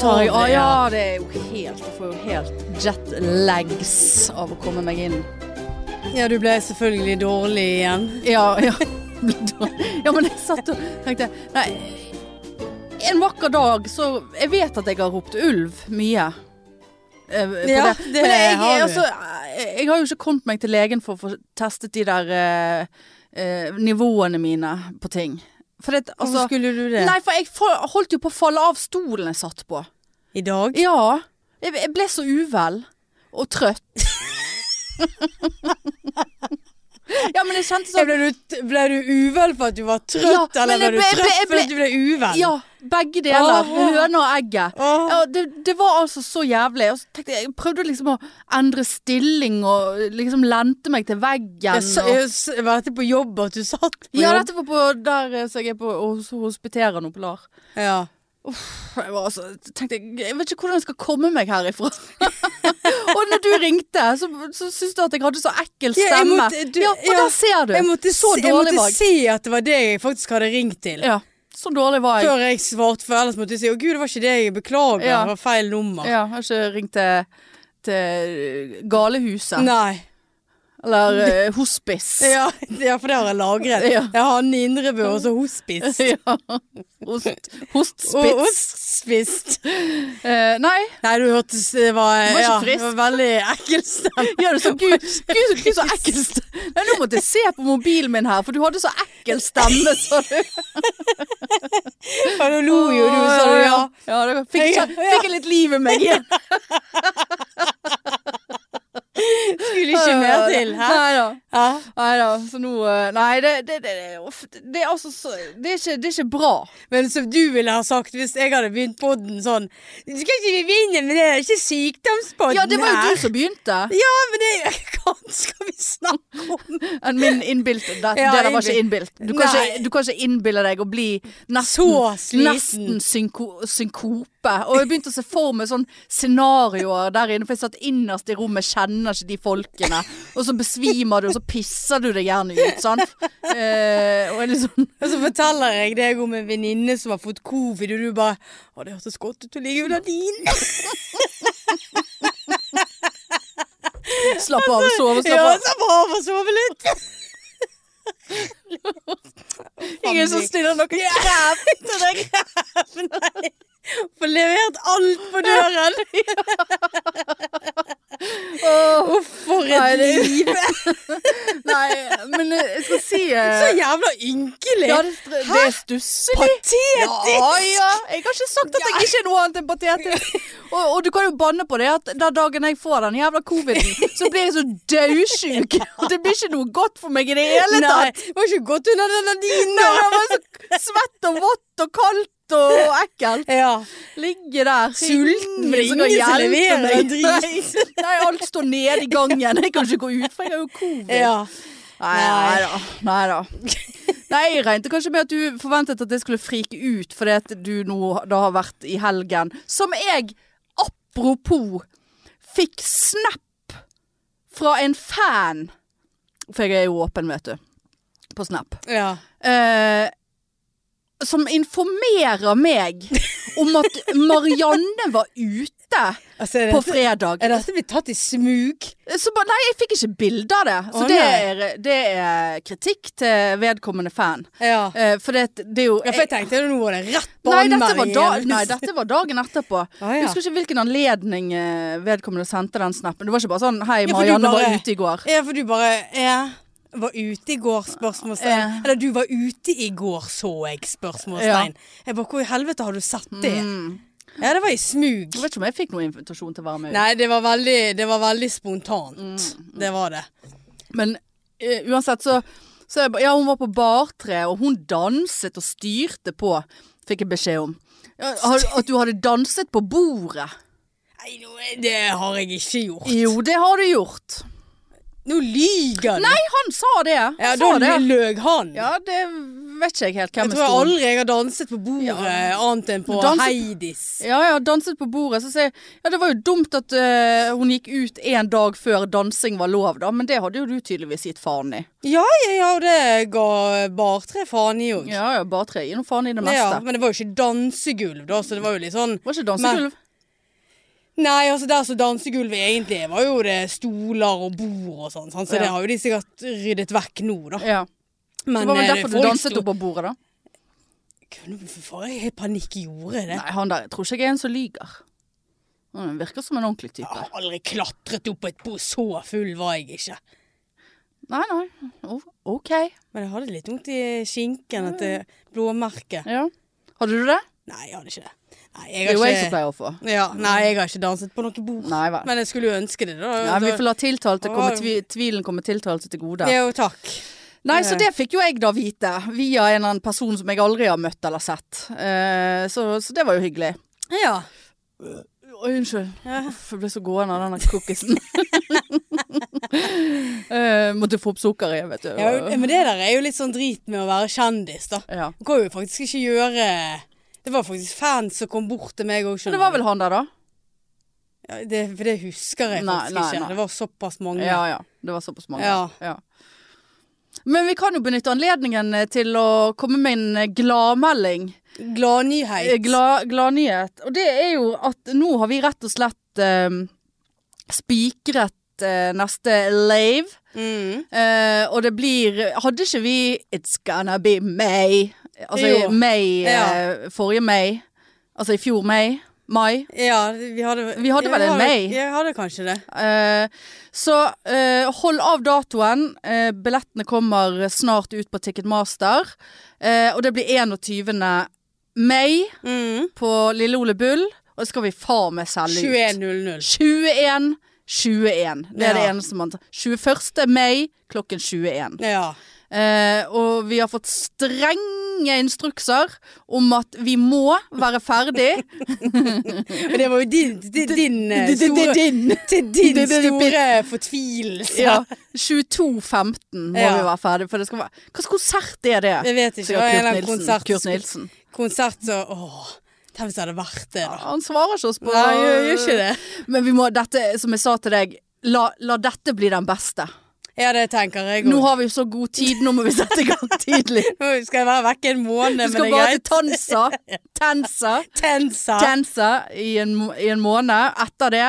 tar jeg Å, av. det, Ja, ja. det er jo helt Jeg får jo helt jetlags av å komme meg inn. Ja, du ble selvfølgelig dårlig igjen. Ja, ja. ja men jeg satt og tenkte Nei, en vakker dag så Jeg vet at jeg har ropt ulv mye. eh, på Ja, det Men jeg, har du. altså, jeg, jeg har jo ikke kommet meg til legen for å få testet de der eh, eh, nivåene mine på ting. For det, altså Hvorfor skulle du det? Nei, for jeg fa- holdt jo på å falle av stolen jeg satt på. I dag? Ja. Jeg, jeg ble så uvel. Og trøtt. ja, men jeg kjente sånn Ble du, ble du uvel for at du var trøtt, Ja, men eller ble du jeg ble- jeg ble- trøtt jeg for at du ble uvel? Ja, begge deler. Åh. Høna og egget. Åh. Ja, det, det var altså så jævlig. Og så tenkte jeg, jeg prøvde liksom å endre stilling og liksom lente meg til Jeg veggen. sa- og, jeg s- var dette på jobb at du satt på ja, jobb? dette var på der eh, så jeg er på hos hospiteren og Polar. Ja. Jeg var altså, tenkte jeg, jeg vet ikke hvordan jeg skal komme meg herifra. og når du ringte, så, så syntes du at jeg hadde så ekkel Ja, jeg stemme. måtte- du- ja, og ja. der ser du. Jeg måtte, så se, jeg dårlig måtte var jeg. se at det var det jeg faktisk hadde ringt til. Ja, så dårlig var jeg. Før jeg svarte, for ellers måtte jeg si 'Å gud, det var ikke det, jeg beklager, Ja. det var feil nummer'. Ja, jeg har ikke ringt til, til galehuset. Nei. Eller eh, hospice. Ja, ja, for det har jeg lagret. Ja. Jeg har Hanne Indrebø og så hospice. Ja. Host, hostspitz. Og ostspist. Eh, nei, Nei, du hørtes Det var, Du var ikke ja, frisk. det var veldig ekkel stemme. gjør det så gud, gud, gud så ekkelt. Nei, nå måtte jeg se på mobilen min her, for du hadde så ekkel stemme, sa du. Ja, du lo jo, du, sa du. Ja. Ja, det fikk, jeg- fikk jeg litt liv i meg igjen. Skulle ikke mer til. Hæ? Nei da. Ja. Nei da, så nå eh, Nei, det, det, det, det, uff, det er altså så Det er ikke, det er ikke bra. Men som du ville ha sagt hvis jeg hadde begynt podden sånn Skal ikke vi begynne med det, det er ikke sykdomspodden Ja, det var jo her. du som begynte. Ja, men det Hva skal vi snakke om? Enn min innbilt det, Ja, det der var ikke innbilt. Du kan Nei. ikke, du kan ikke innbille deg å bli nesten, Så sliten. nesten synko, synkope. Og jeg begynte å se for meg sånn scenarioer der inne, for jeg satt innerst i rommet, kjenner ikke de folkene. Og så besvimer du, og så pisser du deg gjerne ut, sant. Eh, og jeg liksom Og så forteller jeg deg om en venninne som har fått covid, og du bare Å, det hørtes godt ut å ligge under din. Slapp av, sove, slapp Ja, av. så bra å sove litt. Ingen som stiller noe krev til deg. Nei. Få levert alt på døren. Åh, Uff, for Nei, et det- liv. Nei, men eh, jeg skal si Så eh, jævla ynkelig. ja, det, det er stusslig. Patetisk. Ja, ja. Jeg har ikke sagt at jeg ikke er noe annet enn patetisk. Og, og du kan jo banne på det at den dagen jeg får den jævla coviden, så blir jeg så daudsjuk. Og det blir ikke noe godt for meg i det hele Nei, tatt. det var ikke godt under denne dine. Nei, Jeg var så svett og vått og kaldt og ekkelt. Ja. Ligge der. Sulten, for det er Ingen som ingen kan som hjelpe leverer meg. drit. Nei, nei, alt står nede i gangen. Jeg kan ikke gå ut, for jeg har jo covid. ja. Nei, nei da. Nei da. Nei, jeg regnet kanskje med at du forventet at det skulle frike ut fordi at du nå da har vært i helgen. Som jeg, apropos, fikk snap fra en fan. For jeg er jo åpen, vet du. På snap. ja. Eh, som informerer meg om at Marianne var ute Altså, er på dette, fredag. er dette blitt tatt i smug? Så ba, nei, jeg fikk ikke bilde av det. Så Å, det, er, nei. det er kritikk til vedkommende fan. Ja. Eh, for det, det er jo Ja, for jeg tenkte nå var det rett på nei, dette var da, anmeldingen. nei, dette var dagen etterpå. Ah, Jeg ja. husker ikke hvilken anledning eh, vedkommende sendte den snappen. Det var ikke bare sånn 'Hei, Ja, for du Marianne bare- var ute i går'. Ja, for du bare ja, var ute i går, spørsmålstegn. Ja. Eller du var ute i går, så jeg, spørsmålstegn. Jeg bare, hvor i helvete har du sett det? Mm. Ja, det var i smug. Jeg vet ikke om jeg fikk noen invitasjon til å være med. Nei, det var veldig, det var veldig spontant. Mm, Det var det. Men eh, uansett så, så jeg, ba- Ja, hun var på bartre, og hun danset og styrte på, fikk jeg beskjed om. Ja, har- At du hadde danset på bordet. Nei, nå, det har jeg ikke gjort. Jo, det har du gjort. Nå lyger du. Nei, han sa det. Han ja, sa da det. løg han. Ja, det vet ikke jeg helt hvem Jeg tror jeg sto- aldri jeg har danset på bordet annet enn på Danset- Heidis. Ja, jeg har danset på bordet. Så sier jeg ja, det var jo dumt at eh, hun gikk ut en dag før dansing var lov, da. Men det hadde jo du tydeligvis gitt faen i. Ja, ja, ja, og det ga bartre faen i òg. Ja ja, bare tre. Gi nå faen i det Ja, meste. men det var jo ikke dansegulv, da, så det var jo litt sånn Var ikke dansegulv? Nei, altså der som dansegulvet egentlig var jo det stoler og bord og sånn, sant, så Ja. det har jo de sikkert ryddet vekk nå, da. Ja. Men Det var eh, vel derfor du folk danset sto- oppå bordet, da? Kunne for faen, jeg har panikk i jordet, det. Nei, han der jeg tror ikke jeg er en som lyver. Han virker som en ordentlig Jeg type. har aldri klatret opp på et bord, så full var jeg ikke. Nei, nei. O- OK. Men jeg hadde litt vondt i skinken etter blåmerket. Ja. Hadde du det? Nei, jeg hadde ikke det. Nei, jeg Det er jo har jeg som ikke, pleier å få. ja, nei, jeg har ikke danset på noe bord. Nei vel. Men jeg skulle jo ønske det, da. Nei, vi får la tiltalte komme, Åh. tvi, tvilen komme tiltalte til gode. Det er jo takk. Nei, Eh. så det fikk jo jeg da vite, via en eller annen person som jeg aldri har møtt eller sett. Eh, så, så det var jo hyggelig. Ja. Oi, unnskyld. Ja. Uff, jeg ble så gående av denne cookiesen. eh, måtte få opp sukkeret, vet du. ja. Men det der er jo litt sånn drit med å være kjendis, da. Ja. Du kan jo faktisk ikke gjøre eh, Det var faktisk fans som kom bort til meg òg, Men det var vel han der, da? ja, det, For det husker jeg Nei, faktisk nei, ikke. nei. Det var såpass mange. Ja ja. Det var såpass mange. Ja. Men vi kan jo benytte anledningen eh, til å komme med en eh, gladmelding. Gladnyhet. Eh, Glad Gladnyhet. Og det er jo at nå har vi rett og slett eh, spikret eh, neste lave. Mm. Eh, og det blir Hadde ikke vi It's gonna be May? Altså Jo. i May Ja. eh, forrige May. Altså i fjor May. Mai. Ja, vi hadde Vi hadde vel Ja, en May? Vi hadde kanskje det. Eh, så eh, hold av datoen. Eh, billettene kommer snart ut på Ticketmaster. Eh, og det blir 21. mai Mm. på Lille Ole Bull. Og det skal vi faen meg selge ut. 21.00. 21. 21. Det er det Ja. eneste man tar. 21. mai klokken 21. Ja. Eh, og vi har fått strenge instrukser om at vi må være ferdig. Men det var jo din, din, din eh, Det- det- det- store din. Til din det- det- det- store fortvilelse. Ja, 22.15 må Ja. vi være ferdig, for det skal være Hva slags konsert er det? Jeg vet ikke. Det Sikkert var en eller Kurt annen Nilsen. konsert, Kurt Nilsen. Ah, konsert så Åh, tenk hvis det hadde vært det, da. Han svarer ikke oss på Nei, gjør gjør ikke det. Men vi må, dette, som jeg sa til deg, la, la dette bli den beste. Ja, det tenker jeg Nå òg. har vi så god tid, nå må vi sette i gang tidlig. Nå skal jeg være vekke en måned, men Vi det skal er bare til greit. Tansa. Tensa. Tensa. Tensa i en, må- i en måned. Etter det,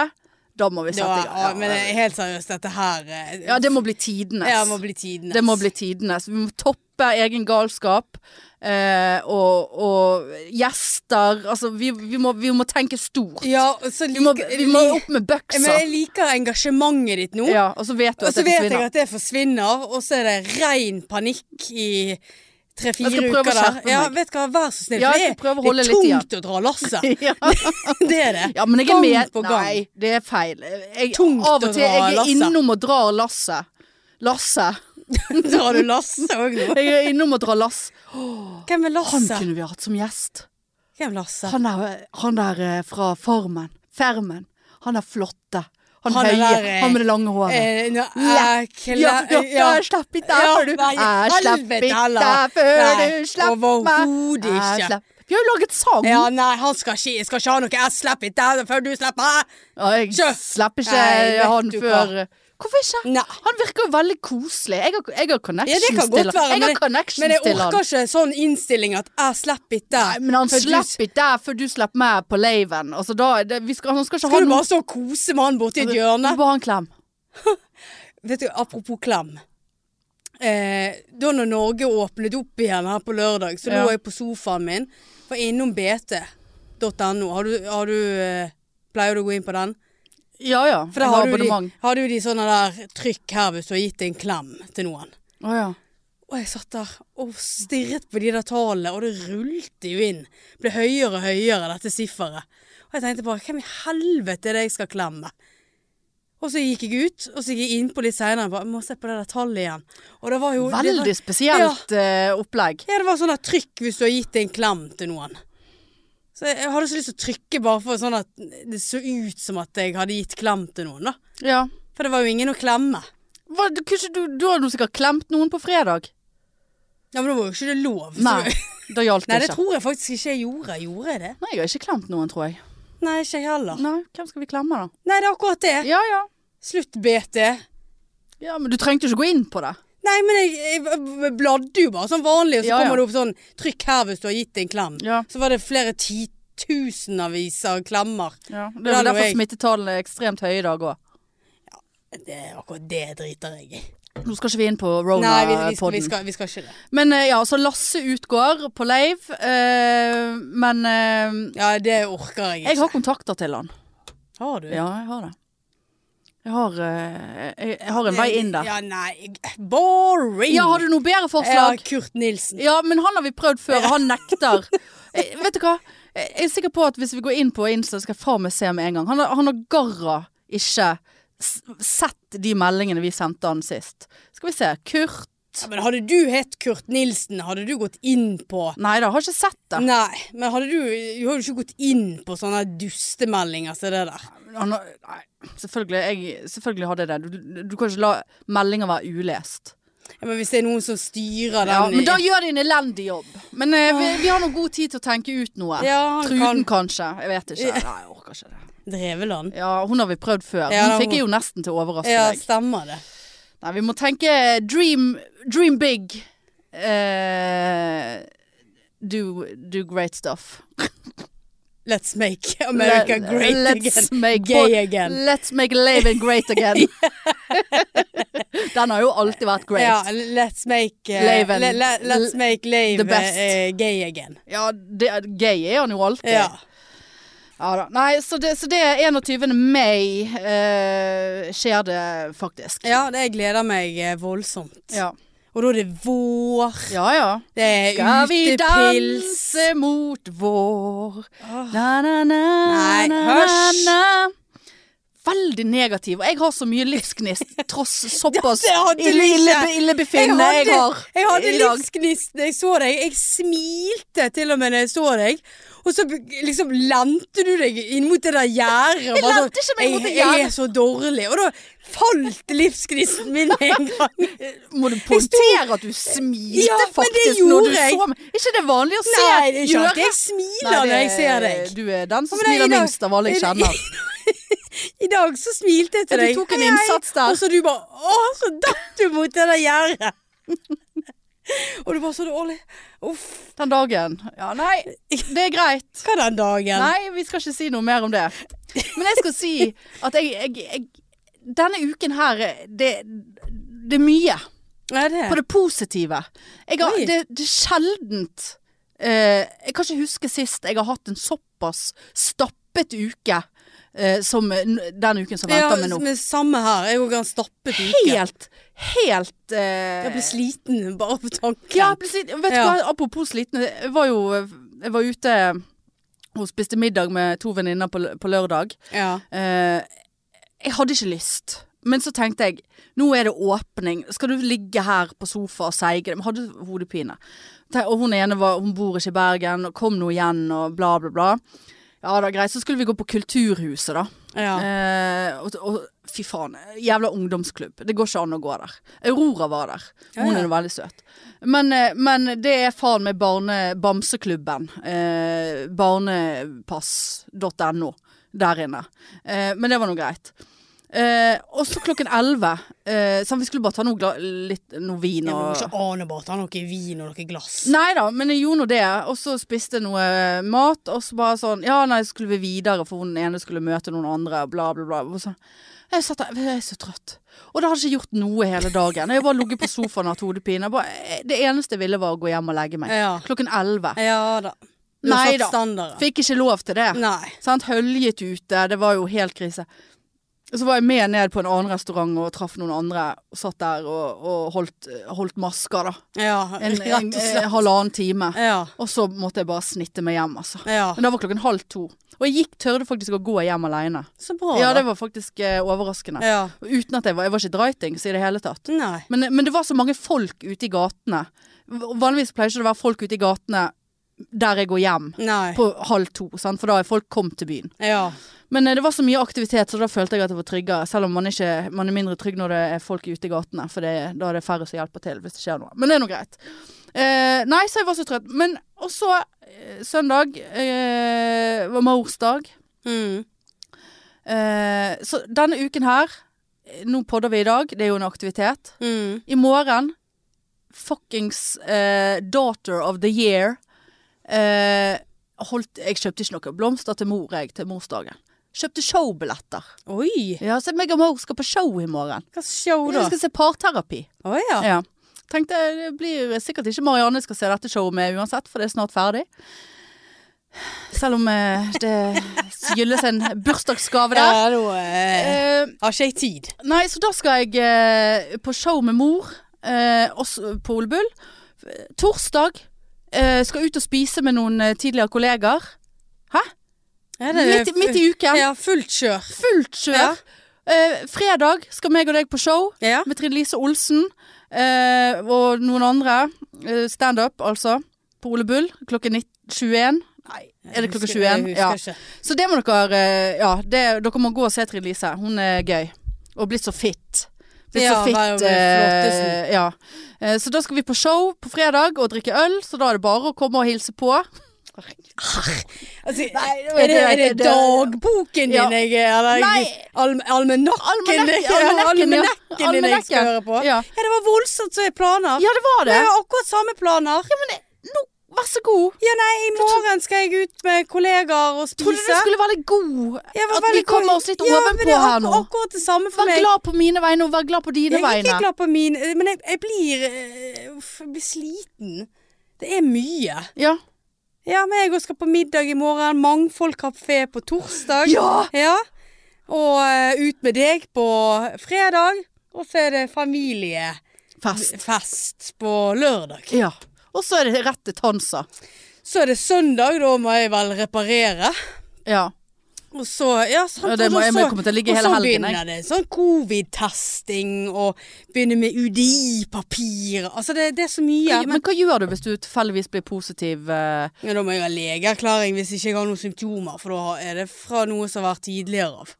da må vi Det sette var, i gang. ja, men helt seriøst, dette her eh, Ja, det må bli tidenes. ja, må bli tidenes. Det må bli tidenes. Vi må toppe egen galskap. Eh, og, og gjester. Altså, vi, vi, må, vi må tenke stort. Ja, og så Vi må, liker- vi må opp med Men jeg bøkser. liker engasjementet ditt nå. Ja, og så vet du Og at så det vet jeg forsvinner. at det forsvinner, og så er det ren panikk i Jeg tre-fire skal uker prøve å der. skjerpe Ja, meg. vet du hva, vær så snill. Ja, for jeg skal prøve å holde det er litt tungt å dra lasset. Ja. Det er det. ja, men jeg er gang med. på gang. Nei, det er feil. Jeg, Tungt av å og til dra jeg er lasset. innom og drar lasset. Lasse. Drar du Lasse òg nå? Jeg er innom og drar lass. Hvem er Han Lasse? kunne vi hatt som gjest. Hvem er Lasse? Han der, han der eh, fra Farmen. Fermen. Han er flotte. Han, Han er høye. der, eh, han med det lange håret. Eh, nå, Ja, ækle- Ja, ja, ja. jeg slapp ikke deg før du nei, Jeg slapp helvete ikke heller. deg før Nei, du slapp meg overhodet Jeg ikke. slapp- Vi har jo laget sang Ja, nei, han skal ikke, jeg skal ikke ha noe 'jeg slipper ikke deg før du slipper meg'. Ja, Jeg Sjø. slapp ikke Nei, vet han du før eh. Hvorfor ikke? Nei. Han virker jo veldig koselig Jeg har, jeg har Ja, connections det kan godt til være, han Jeg men, har connections men jeg til han orker ikke sånn innstilling at 'jeg slipper ikke Nei, deg'. men han før du slapp ikke deg før du slapp meg på leiven Altså da, er det, vi skal, han skal ikke Skal ha du noe bare stå og kose med han borti et hjørne? Du bare ha en klem Vet du, apropos klem. Eh, da når Norge åpnet opp igjen her på lørdag, så Ja. lå jeg på sofaen min. Var innom bt.no. Har du, har du eh, Pleier du å gå inn på den? Ja, ja, For da jeg har har du, de, abonnement har du de sånne der trykk her hvis du har gitt en klem til noen. Åja Og jeg satt der og stirret på de der tallene, og det rullte jo inn. Ble høyere og høyere, dette sifferet. Og jeg tenkte bare, hvem i helvete er det jeg skal klemme? Og så gikk jeg ut, og så gikk jeg innpå litt seinere og bare Må se på det der tallet igjen. Og det var jo det var, Veldig spesielt eh, opplegg Ja, det var sånn der trykk hvis du har gitt en klem til noen. Så jeg jeg hadde så lyst til å trykke bare for sånn at det så ut som at jeg hadde gitt klem til noen, da. Ja For det var jo ingen å klemme. Hva, du, kanskje du, du har jo sikkert klemt noen på fredag Ja, men da var jo ikke det lov. så- Nei, da gjaldt Nei, det det ikke. tror jeg faktisk ikke jeg gjorde. Gjorde jeg det? Nei, jeg har ikke klemt noen, tror jeg. Nei, ikke jeg heller. Nei, hvem skal vi klemme, da? Nei, det er akkurat det. Ja ja. Slutt, BT. Ja, Men du trengte ikke gå inn på det. Nei, men jeg, jeg bladde jo bare sånn vanlig, og så Ja, ja. kommer det opp sånn 'trykk her hvis du har gitt en klem'. Ja. Så var det flere titusenvis av klemmer. Det Ja, er vel nå er derfor jeg- smittetallene er ekstremt høye i dag òg. Det er akkurat det driter jeg i. Nå skal ikke vi inn på Nei, vi, vi, skal, vi, Rona-podden. skal, vi skal ikke det. Men eh, ja, så Lasse utgår på Leiv. eh, men eh, Ja, det orker jeg ikke. jeg har kontakter til han. Har du? Ja, jeg har det. Jeg har, eh, jeg, jeg har en vei inn der. Ja, nei, boring! Ja, har du noe bedre Ja, forslag? Kurt Nilsen. Ja, men han har vi prøvd før, og han nekter. Eh, vet du hva? Jeg er sikker på at hvis vi går inn på Insta, skal jeg faen meg se med en gang. Han har, han har garra ikke s- sett de meldingene vi sendte han sist. Skal vi se. Kurt Ja, men hadde du hett Kurt Nilsen, hadde du gått inn på Nei da, har ikke sett det. Nei, men hadde du Du har jo ikke gått inn på sånne dustemeldinger som det der. Han har, nei, selvfølgelig, jeg, selvfølgelig hadde jeg det. Du, du kan ikke la meldinger være ulest. Ja, men hvis det er noen som styrer den Ja, men da i- gjør de en elendig jobb. Men eh, vi, vi har nå god tid til å tenke ut noe. Ja, han Truden kanskje. Jeg vet ikke. Nei, jeg orker ikke det. Dreveland. Ja, hun har vi prøvd før. Ja, da, hun fikk hun- jeg jo nesten til å overraske Ja, deg. stemmer det. Nei, vi må tenke dream, dream big. Eh, do, do great stuff. Let's make America Let- great let's again. Make Gay again. Let's make Laven great again. Den har jo alltid vært great. Ja, let's make eh, Laven. le, le, Let's make Lave the best. eh, gay again. Ja, det, gay er han jo alltid. Ja. Ja da. Nei, så det, så det er 21. mai eh, skjer det faktisk. ja, det gleder meg eh, voldsomt. Ja Og da er det vår. ja. ja. Det er Skal vi utepils. danse mot vår Åh. na, na, na, Nei, na, hysj. na. Veldig negativ. Og jeg har så mye livsgnist tross såpass Dette hadde du ille- ille- ikke. Jeg illebefinnende jeg, hadde, har jeg hadde i dag. livsgnist da jeg så deg. Jeg smilte til og med når jeg så deg. Og så liksom lente du deg inn mot det der gjerdet. og Jeg bare sånn, lente ikke meg mot det jeg, jeg gjerdet." er så dårlig. Og da falt livsgnisten min med en gang. Må du poengtere at du smilte Ja, men det faktisk når du gjorde jeg. så meg? Ikke det vanlig å se? Nei, det er ikke gjøre? alltid jeg smiler Nei, når jeg det- ser deg. Du er den som Ja, men det er smiler i dag- minst av alle jeg er det- kjenner. I dag så smilte jeg til Ja, du deg. tok en Hei, hei. innsats der. Og så du bare Å, så datt du mot det der gjerdet. og du bare så dårlig. Uff. Den dagen. Ja, nei, det er greit. Hva den dagen? Nei, vi skal ikke si noe mer om det. Men jeg skal si at jeg, jeg, jeg Denne uken her, det, det er mye. Ja, det. På det positive. Jeg har, Oi. det, det er sjeldent eh, Jeg kan ikke huske sist jeg har hatt en såpass stappet uke eh, som n- den uken som venter meg nå. men samme her. Jeg òg har en stappet uke. Helt, helt eh, Jeg blir sliten bare på tanken. Ja, plutselig. Vet du Ja. hva, apropos sliten. Jeg var jo jeg var ute og spiste middag med to venninner på, lø- på lørdag. Ja. Eh, jeg hadde ikke lyst. Men så tenkte jeg, nå er det åpning. Skal du ligge her på sofa og seige? Men hadde hodepine. Te- Og hun ene var, hun bor ikke i Bergen, og kom nå igjen, og bla, bla, bla. Ja da, greit. Så skulle vi gå på Kulturhuset, da. ja. Eh, og, og fy faen, jævla ungdomsklubb. Det går ikke an å gå der. Aurora var der. Ja, ja. Hun er jo veldig søt. Men, eh, men det er faen meg barne, bamseklubben. Eh, barnepass.no der inne. Eh, men det var nå greit. Eh, og så klokken elleve. Eh, sånn, vi skulle bare ta noe, gla litt, noe vin Jeg må og ikke ane bare ta noe vin og noe glass. Nei da, men jeg gjorde nå det. Og så spiste jeg noe eh, mat, og så bare sånn Ja, nei, skulle vi videre, for hun ene skulle møte noen andre, og bla, bla, bla. Og så, jeg satt der, jeg er så trøtt. Og det hadde ikke gjort noe hele dagen. Jeg bare ligget på sofaen og hatt hodepine. Jeg bare- eh, Det eneste jeg ville, var å gå hjem og legge meg. Ja. Klokken elleve. Ja da. Du har Nei satt da. standarden. Fikk ikke lov til det. Nei. Sant? Høljet ute, det var jo helt krise. Så var jeg med ned på en annen restaurant og traff noen andre. Og satt der og, og holdt, holdt masker, da. Ja, En, rett og en, en slett. halvannen time. Ja. Og så måtte jeg bare snitte meg hjem, altså. ja. Men da var klokken halv to. Og jeg gikk, tørde faktisk å gå hjem alene. Så bra, Ja, det da. var faktisk eh, overraskende. Ja. Uten at jeg var Jeg var ikke dritings i det hele tatt. Nei. Men, men det var så mange folk ute i gatene. V- Vanligvis pleier ikke det å være folk ute i gatene der jeg går hjem Nei. på halv to, sant? for da er folk kommet til byen. Ja. Men eh, det var så mye aktivitet, så da følte jeg at det var tryggere. Selv om man, ikke, man er mindre trygg når det er folk ute i gatene, for det, da er det færre som hjelper til hvis det skjer noe. Men det er nå greit. Eh, nei, så jeg var så trøtt. Men også eh, søndag eh, var morsdag. Mm. Eh, så denne uken her eh, Nå podder vi i dag, det er jo en aktivitet. Mm. I morgen Fuckings eh, daughter of the year eh, holdt, Jeg kjøpte ikke noe blomster til mor jeg til morsdagen. Kjøpte showbilletter. Oi! Ja, så meg og mor skal på show i morgen. Hva show Vi da? skal se parterapi. Å ja. Ja. Tenkte jeg, det blir sikkert ikke Marianne skal se dette showet med uansett, for det er snart ferdig. Selv om eh, det skyldes en bursdagsgave Ja, der. nå eh, Eh, har ikke jeg tid. Nei, så da skal jeg eh, på show med mor eh, også på Ole Bull. Torsdag eh, skal ut og spise med noen eh, tidligere kollegaer. Ja, det er Midt, i- midt i uken. Ja, fullt kjør. Fullt kjør. Ja. Eh, fredag skal meg og deg på show Ja. med Trine Lise Olsen eh, og noen andre. Eh, Standup, altså. På Ole Bull klokken 19 21. Nei, er det klokka 21? Ja. Ja. Så det må dere eh, Ja, det, dere må gå og se Trine Lise. Hun er gøy. Og blitt så fit. Blitt Ja, så fit. bare blitt eh, flottesen. ja. Eh, Så da skal vi på show på fredag og drikke øl, så da er det bare å komme og hilse på. Altså, det var er det, det- er det det- dagboken din Ja. jeg eller, Nei. Al almanakken, Almanakken, din- ja. almanakken din jeg skal Almanakken. høre på? Ja. det var voldsomt så jeg planer. Ja, det var det. Jeg har akkurat samme planer. Ja, Nå, vær så god. nei, i morgen skal jeg ut med kollegaer og Trodde du spise. skulle være litt god. Jeg var At vi veldig glad- kommer oss litt ja, men det ovenpå er her nå. akkur- Akkurat det samme for Vær meg. glad på mine vegne, og vær glad på dine Jeg er ikke vegne. glad på min, men jeg, jeg blir eh, uff, jeg blir sliten. Det er mye. Ja. Ja, men jeg også skal på middag i morgen. Mangfold kafé på torsdag. Ja! Og eh, ut med deg på fredag. Og så er det familiefest Fest. på lørdag. Ja. Og så er det rett til Tansa. Så er det søndag, da må jeg vel reparere. Ja. Og så, ja, sant, Ja, det og må da jeg- så- jeg kommer til å ligge og hele så helgen, jeg. begynner det sånn covid-testing, og begynner med UDI-papir. Altså, det, det er så mye. men, hva gjør du hvis du tilfeldigvis blir positiv? eh, Ja, da må jeg ha legeerklæring hvis ikke jeg har noen symptomer, for da er det fra noe som har vært tidligere av.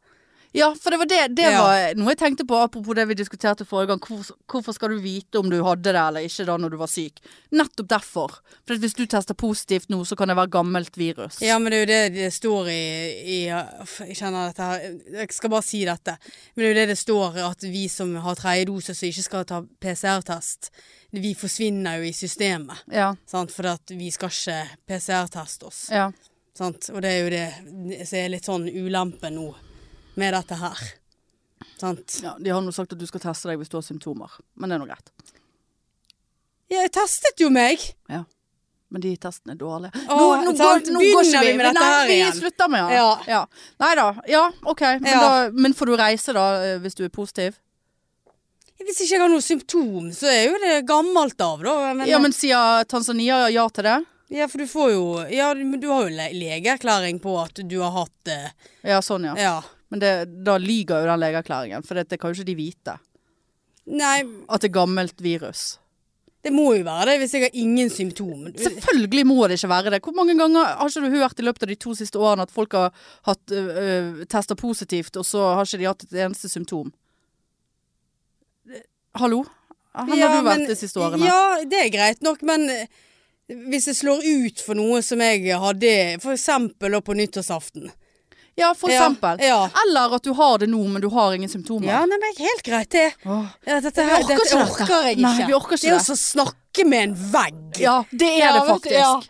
Ja, for det var det, det Ja. var noe jeg tenkte på apropos det vi diskuterte forrige gang. Hvor, hvorfor skal du vite om du hadde det eller ikke da når du var syk? Nettopp derfor. For at hvis du tester positivt nå, så kan det være gammelt virus. Ja, men det er jo det det står i, i uff, Jeg kjenner dette her Jeg skal bare si dette. Men det er jo det det står at vi som har tredje dose som ikke skal ta PCR-test, vi forsvinner jo i systemet. Ja. Sant? For at vi skal ikke PCR-teste oss. ja. Sant? Og det er jo det som er litt sånn ulempen nå med dette her. Sant? ja de har nå sagt at du skal teste deg hvis du har symptomer. Men det er nå greit. Ja, jeg testet jo meg! Ja. Men de testene er dårlige. Åh, nå, nå, sant. går, nå går Begynner ikke vi vi med dette Nei, her vi igjen. slutter med det. Ja. Nei da. Ja, OK. Men, Ja. Da, men får du reise da eh, hvis du er positiv? Hvis ikke jeg har noe symptom, så er jo det gammelt av, da. Jeg mener- Ja, men sier Tanzania ja til det? Ja, for du får jo Ja, men du har jo le legeerklæring på at du har hatt eh, Ja, sånn ja. Ja. Men det, da lyger jo den legeerklæringen, for det, det kan jo ikke de vite. Nei, At det er gammelt virus. det må jo være det hvis jeg har ingen symptom. Selvfølgelig må det ikke være det. Hvor mange ganger har ikke du hørt i løpet av de to siste årene at folk har hatt øh, øh, tester positivt, og så har ikke de hatt et eneste symptom? Hallo? Her Ja, har du vært men- de siste årene. Ja, det er greit nok, men eh, hvis det slår ut for noe som jeg hadde for eksempel da på nyttårsaften. Ja, for Ja, eksempel. ja. Eller at du har det nå, men du har ingen symptomer. Ja, nei, men helt greit det. Åh. Ja, dette, Vi dette orker ikke dette. orker jeg ikke. Nei, vi orker ikke det er jo det. som å snakke med en vegg. ja det er Ja, det vet du, faktisk. ja.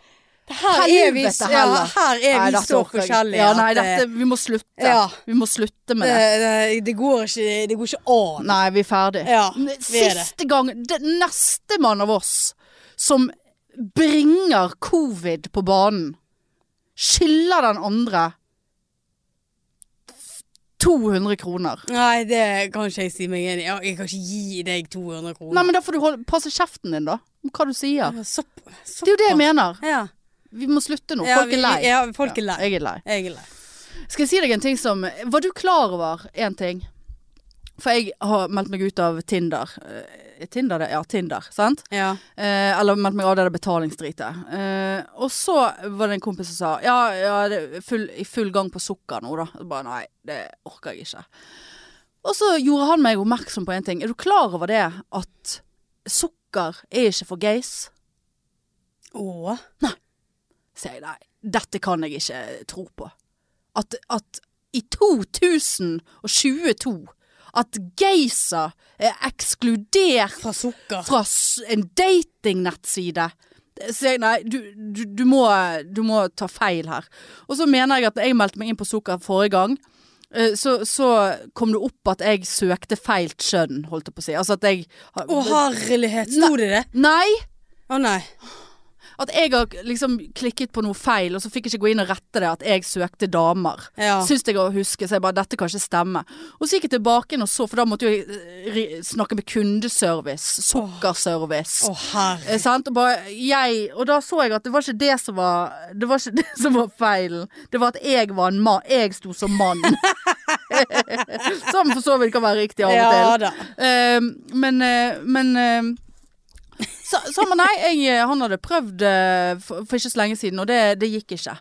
Her er vi, Helvete ja, heller. her er Nei, vi dette så orker jeg ikke. forskjellige. Ja, at nei, det- dette, vi må slutte. Ja. Eh, Vi må slutte med eh, det. det, det, det, går ikke, det går ikke an. Nei, vi er ferdig. Ja, N- vi er det. Siste gang det, Neste mann av oss som bringer covid på banen, skylder den andre 200 kroner. Nei, det kan ikke jeg si meg enig i. Ja, Jeg kan ikke gi deg 200 kroner. Nei, men da får du holde, passe kjeften din, da. Om hva du sier. Ja, sopp, Det er jo det jeg mener. Ja. Vi må slutte nå. Ja, Folk vi- er lei. Ja, folk er lei. Jeg er lei. Jeg er lei. Skal jeg si deg en ting som Var du klar over én ting? For jeg har meldt meg ut av Tinder. Eh, Tinder, det? Ja, Tinder. Sant? Ja. Eh, eller meldt meg av det der betalingsdritet. Eh, og så var det en kompis som sa ja, ja det er full, i full gang på sukker nå, da. Jeg bare nei, det orker jeg ikke. Og så gjorde han meg oppmerksom på en ting. Er du klar over det at sukker er ikke for gays? Å. sier jeg nei, dette kan jeg ikke tro på. At, at i 2022 at geyser er ekskludert Fra sukker. fra s- en datingnettside. Det- sier jeg nei, du, du, du, må, du må ta feil her. Og så mener jeg at når jeg meldte meg inn på Sukker forrige gang, eh, så, så kom det opp at jeg søkte feil kjønn, holdt jeg på å si. Altså at jeg Å, herlighet. Sto det det? Nei! Å nei. At jeg har liksom klikket på noe feil, og så fikk jeg ikke gå inn og rette det at jeg søkte damer. Ja. Syns jeg å huske, så jeg bare dette kan ikke stemme. Og så gikk jeg tilbake inn og så, for da måtte jo jeg eh, ri- snakke med kundeservice, sukkerservice. Å herre. Eh, sant? Og, bare, jeg, og da så jeg at det var ikke det som var Det var ikke det som var feilen. Det var at jeg var en mann. Jeg sto som mann. som for så vidt kan være riktig av og til. Ja da. Eh, men eh, men eh, så, så men nei, jeg, eh, han hadde prøvd eh, for, for ikke så lenge siden, og det, det gikk ikke.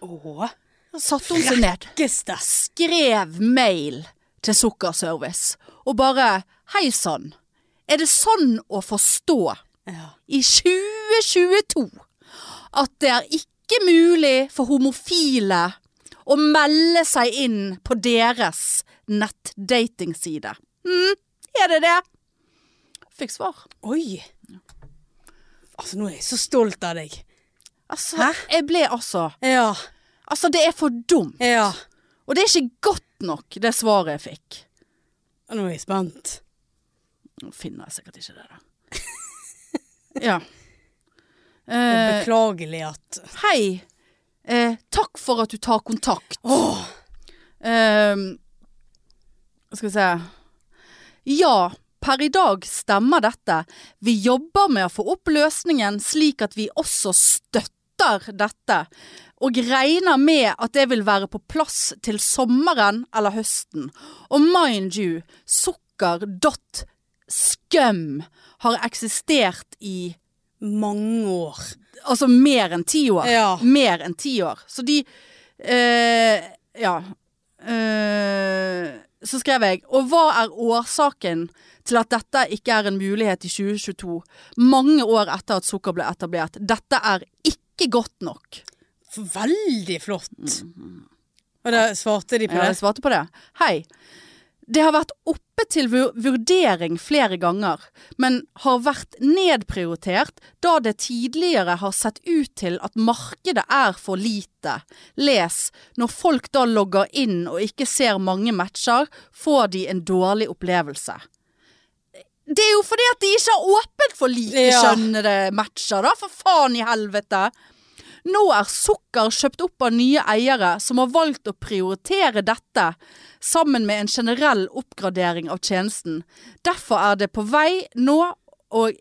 Å. Da satte hun seg ned, Gesta. skrev mail til Sukkerservice og bare Hei sann, er det sånn å forstå Ja. i 2022 at det er ikke mulig for homofile å melde seg inn på deres nettdatingside? Mm, er det det? Fikk svar. Oi. Altså, nå er jeg så stolt av deg. Altså, jeg ble altså Ja. Altså, det er for dumt. Ja. Og det er ikke godt nok, det svaret jeg fikk. Nå er jeg spent. Nå finner jeg sikkert ikke det, da. ja. Det er Eh, Beklagelig at hei. Eh, takk for at du tar kontakt. Åh, Eh, skal vi se Ja, per i dag stemmer dette. Vi jobber med å få opp løsningen slik at vi også støtter dette. Og regner med at det vil være på plass til sommeren eller høsten. Og mind you, sukker.skum har eksistert i mange år. Altså mer enn ti år. Ja. Mer enn ti år. Så de eh, Ja. Eh, så skrev jeg Og hva er årsaken til at dette ikke er en mulighet i 2022? Mange år etter at sukker ble etablert. Dette er ikke godt nok. F- Veldig flott. Og da svarte de på Mhm. Ja, jeg det? svarte på det. Hei. Det har vært oppe til vu- vurdering flere ganger, men har vært nedprioritert da det tidligere har sett ut til at markedet er for lite. Les, når folk da logger inn og ikke ser mange matcher, får de en dårlig opplevelse. Det er jo fordi at de ikke har åpent for likekjønnede matcher, da, for faen i helvete! Nå er sukker kjøpt opp av nye eiere som har valgt å prioritere dette, sammen med en generell oppgradering av tjenesten. Derfor er det på vei nå, og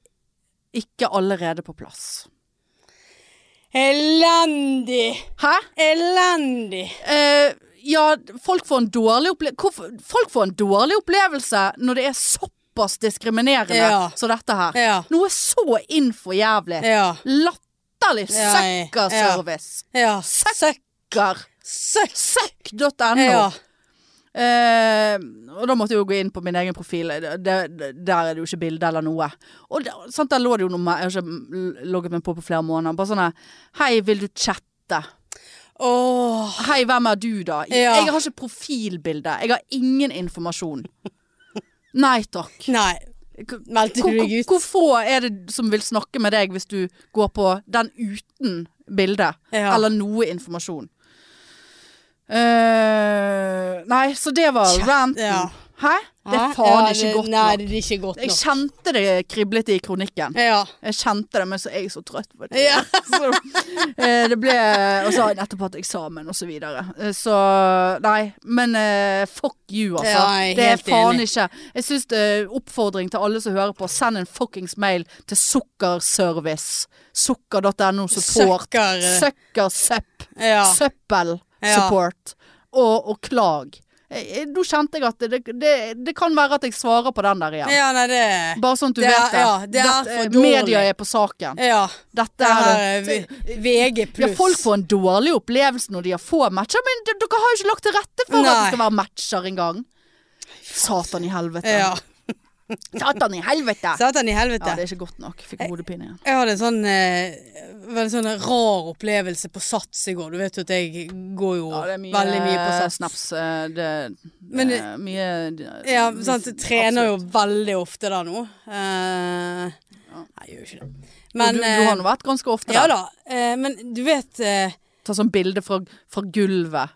ikke allerede på plass. Elendig! Hæ? Elendig! Eh, ja, folk får, en dårlig opple Hvorfor? folk får en dårlig opplevelse når det er såpass diskriminerende Ja. som dette her. Ja. Noe så innfor jævlig. Ja. Latterlig Ja, ja. søkkerservice. ja. Søkker. Søkk! Søkk.no. Ja. Eh, og da måtte jeg jo gå inn på min egen profil. Det, det, der er det jo ikke bilde eller noe. Og da- sant, der lå det jo noe mer- Jeg har ikke logget meg på på flere måneder. Bare sånn her, Hei, vil du chatte? Åh. Hei, hvem er du, da? Ja. Jeg har ikke profilbilde. Jeg har ingen informasjon. Nei takk. Nei. Meldte Hvor, du deg hvor, ut? hvor få er det som vil snakke med deg hvis du går på den uten bilde? Ja. Eller noe informasjon? Eh, nei, så det var Chat, ranten. ja. Hæ? Det Hæ? er faen Ja, ikke det- godt nei, nok. det er ikke godt Jeg nok. kjente det kriblet i kronikken. Ja. Jeg kjente det, men så er jeg så trøtt. På det. Ja. Så, eh, det ble Og så har jeg nettopp hatt eksamen, og så videre. Eh, Så nei. Men eh, fuck you, altså. Ja, jeg er det er helt faen enig. ikke. Jeg syns det er oppfordring til alle som hører på, send en fuckings mail til Sukkerservice. Sukker.no support. Søkker, eh, Søkkersepp. Ja. Søppel Ja. support. Og, og klag. eh, Nå kjente jeg at det, det, det kan være at jeg svarer på den der igjen. Ja, nei, det Bare sånn at du Det er- vet det. ja, det er Dette- for dårlig. Media er på saken. Ja. Det Dette her er er V- VG ja, pluss. folk får en dårlig opplevelse når de har få matcher, men d- dere har jo ikke lagt til rette for at Nei. det skal være matcher engang. Satan i helvete. Ja. Satan i helvete! Satan Eh, i Ja, det helvete. er ikke godt nok. Fikk hodepine igjen. Jeg hadde en sånn eh, veldig sånn rar opplevelse på Sats i går. Du vet jo at jeg går jo Ja, det er mye, veldig mye på Sats. snaps. eh, Det, Men det, det- er mye Ja, sant. Jeg trener jo veldig ofte da nå. Eh, nei, jeg gjør jo ikke det. Men du, du har nå vært ganske ofte eh, Ja der. da. Eh, men du vet eh, Ta sånn bilde fra, fra gulvet.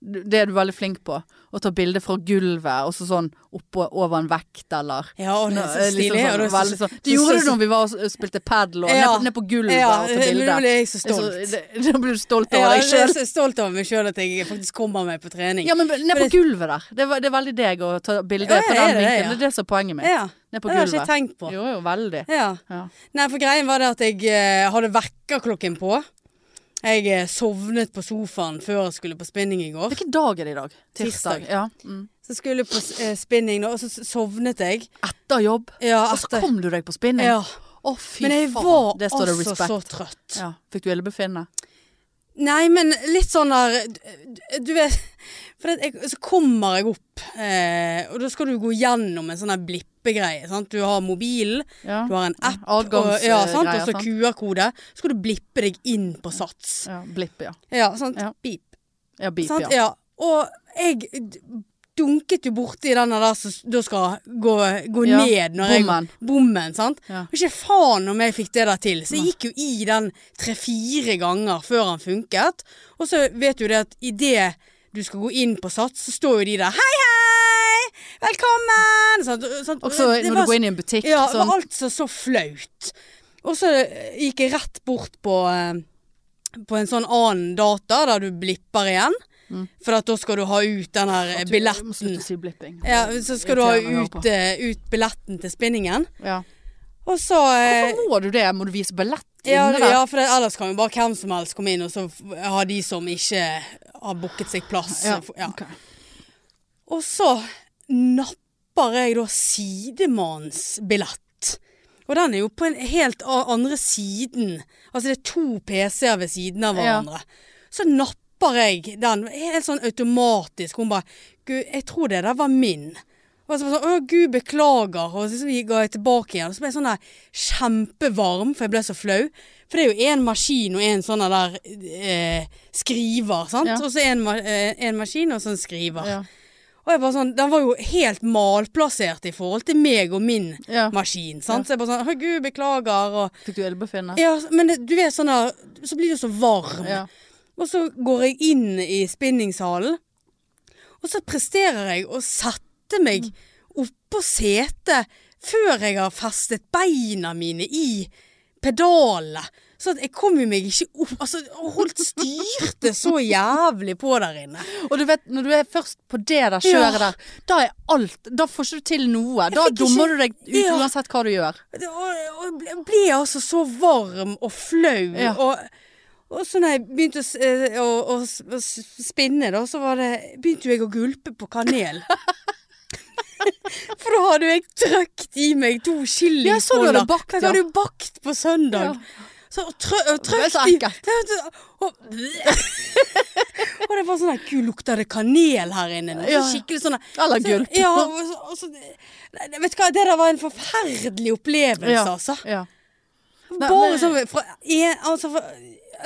Du- Det er du veldig flink på. Å ta bilde fra gulvet, og så sånn oppå over en vekt, eller Ja, og det er så Eh, liksom stilig. sånn og det er så- veldig sånn- så- Du så- gjorde det når vi var og s- spilte padel og Ja. ned, på- ned på gulvet Ja, og men tok bilde. nå ble jeg så stolt. Så det- Da blir du stolt Ja, over deg jeg er sjøl. så stolt over meg sjøl at jeg faktisk kommer meg på trening. Ja, men ned på det- gulvet der. Det, var- det er veldig deg å ta bilde Ja, på ja, den er det det, vinkelen. ja. Det er det som er poenget mitt. Ja. Ned på det har jeg gulvet. ikke tenkt på. Jo, jo, veldig. Ja. Ja. Nei, for greien var det at jeg eh, hadde vekkerklokken på. Jeg eh, sovnet på sofaen før jeg skulle på spinning i går. Hvilken dag er det i dag? Tirsdag. Ja. Mm. Så skulle jeg på eh, spinning, nå, og så s- sovnet jeg. Etter jobb. Ja, Og så etter. kom du deg på spinning. Ja. Å, fy Men jeg faen. var det står det altså respekt. så trøtt. Ja. Fikk du illebefinnende? Nei, men litt sånn der Du, du vet For det, at jeg, så kommer jeg opp, eh, og da skal du gå gjennom en sånn der blippegreie. Sant? Du har mobilen, Ja. du har en app, og, Adgangs, ja, eh, sant? greier, og så sant? QR-kode. Så skal du blippe deg inn på Sats. ja. Blipp, ja. Ja, sant. Ja. Beep. Ja, beep, Sant? ja. Ja. Og jeg d- dunket jo borti den der som s- da skal gå, gå Ja, ned når bommen. jeg Bommen. sant? Ja. Og ikke faen om jeg fikk det der til. Så jeg gikk jo i den tre-fire ganger før han funket. Og så vet du det at idet du skal gå inn på Sats, så står jo de der Hei, hei! Velkommen! Sant? sant? Og så Det når var du går inn i en butikk ja, det sånn var altså så flaut. Og så eh, gikk jeg rett bort på, eh, på en sånn annen data, der du blipper igjen. For at da skal du ha ut den her eh, Mm. Du må billetten. slutte å si blipping. Ja, så skal du ha Irriterende å høre ut, på. eh, ut billetten til spinningen. Ja. Og så eh, Hvorfor må du det? Må du vise billett ja, inne der? ja, for det, ellers kan jo bare hvem som helst komme inn, og så f- ha de som ikke har booket seg plass. Ja, f- Ja. ok. Og så napper jeg da sidemannsbillett. Og den er jo på en helt a- andre siden. Altså det er to PC-er ved siden av Ja. hverandre. Så napper jeg den helt sånn automatisk. Hun bare Gud, jeg tror det der var min. Og så var jeg sånn, Å, gud, beklager. Og så ga jeg tilbake igjen. Og så ble jeg sånn der kjempevarm, for jeg ble så flau. For det er jo én maskin og én sånn der eh, skriver, sant. Ja. Og så én ma- eh, en maskin og så en skriver. Ja. Og jeg bare sånn, Den var jo helt malplassert i forhold til meg og min Ja. maskin. sant? Så jeg bare sånn Å, gud, beklager. Og, Fikk du illebefinnende? ja, men det- du vet sånn der Så blir du så varm. Ja. Og så går jeg inn i spinningsalen, og så presterer jeg å sette meg Mm. oppå setet før jeg har festet beina mine i pedalene. Så at jeg kom jo meg ikke opp Altså, holdt styrte så jævlig på der inne. Og du vet, når du er først på det der kjøret Ja. der, da er alt Da får ikke du til noe. Da fikk ikke- dummer du deg ut Ja. uansett hva du gjør. Det- Og, og ble, ble altså så varm og flau. Ja. Og, og så når jeg begynte å, s- eh, å, å, s- å s- spinne, da, så var det, begynte jo jeg å gulpe på kanel. For da hadde jo jeg trøkt i meg to chili Ja, så du hadde bakt, Jeg ja. hadde jo bakt på søndag. Ja. Så og trø, og Det er trøkt så i ekkelt. Ja, og, og det var sånn der Gud, lukter det kanel her inne nå? Ja, Så ja. Skikkelig sånn der Eller så- gulp. Ja, og, så- og så, nei, vet du hva, det der var en forferdelig opplevelse, Ja. altså. Ja. Nei, Bare men- sånn fra en, altså, fra,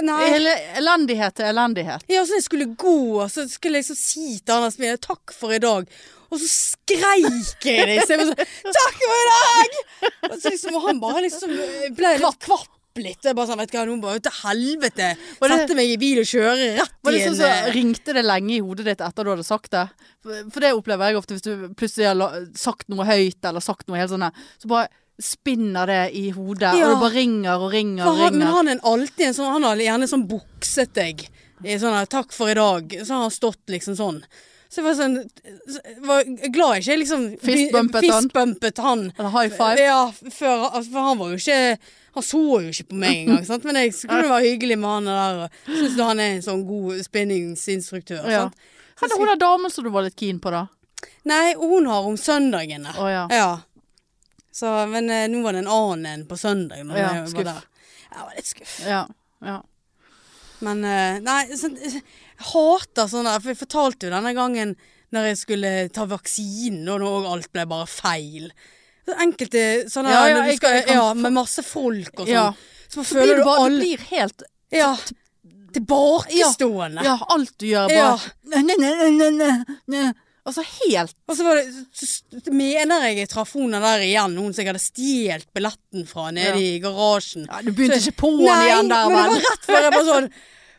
Nei. Ele elendighet til elendighet. Ja, så jeg skulle gå, og så skulle jeg liksom si til Anders Mine 'takk for i dag', og så skreik jeg det i stedet. for sånn, 'Takk for i dag!' Og så liksom, og han bare liksom ble litt kvapp litt. Jeg bare sånn, vet du hva, nå må jeg ut til helvete. Var det- Sette meg i bil og kjøre rett Var det i en sånn som eh, Ringte det lenge i hodet ditt etter du hadde sagt det? For for det opplever jeg ofte hvis du plutselig har la- sagt noe høyt eller sagt noe helt sånn her, så bare spinner det i hodet, Ja. og det bare ringer og ringer For og han, men ringer. han er en alltid en sånn Han har gjerne sånn bukset deg. I sånn her 'takk for i dag'. Så har han stått liksom sånn. Så jeg var sånn så var glad jeg ikke liksom Fistbumpet be- han. fistbumpet han. Eller high five. Ja, før, altså, for han var jo ikke Han så jo ikke på meg engang, sant. Men jeg skulle være hyggelig med han der og syns han er en sånn god spinningsinstruktør. Ja. Sant? Hva er det hun der damen som du var litt keen på, da? Nei, hun har om søndagene. Å ja. Ja. Så, men eh, nå var det en annen enn på søndag. Når Ja, jeg var skuff. der. Jeg var litt skuff. Ja. ja. Men eh, nei, sånn, jeg hater sånne For jeg fortalte jo denne gangen når jeg skulle ta vaksinen, og når alt ble bare feil. Så Enkelte sånne Ja, ja, når du jeg- skal, jeg kan ja, få- med masse folk og sånn. Ja. Så Så blir føler du du bare Du alle blir helt ja, tilbakestående. Ja, alt du gjør, er Ja. bare ne, ne, ne, ne, ne, ne. Altså helt Og så var det, s- s- mener jeg jeg traff hun der igjen, hun som jeg hadde stjålet billetten fra nede i garasjen. ja, Du begynte Så- ikke på den igjen men der, det men var rett før jeg var sånn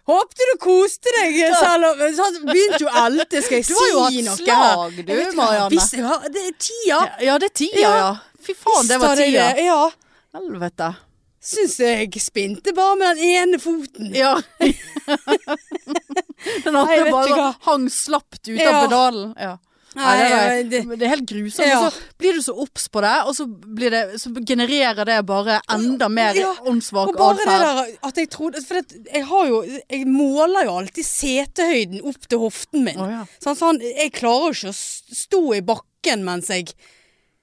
Håpte du koste deg, selv om Så han begynte jo alltid, skal jeg Du har jo si hatt noe slag, her. du, Jeg vet ikke, Marianne. Hvis jeg har Det er tida. Ja, det er tida, Ja. ja. Fy faen, det Visst har var jeg tida. det, Ja. Helvete. Syns jeg spinte bare med den ene foten. Ja. Nei, jeg Den andre vet ikke bare hva. hang slapt ut av Ja. pedalen. Ja. Nei, det, Nei, er, det er helt grusomt. Ja. Og Så blir du så obs på det, og så, blir det, så genererer det bare enda mer Ja. åndssvak Og bare det atferd. der at jeg trodde For det, jeg har jo Jeg måler jo alltid setehøyden opp til hoften min. Å, ja. Sånn, sånn, jeg klarer jo ikke å s- stå i bakken mens jeg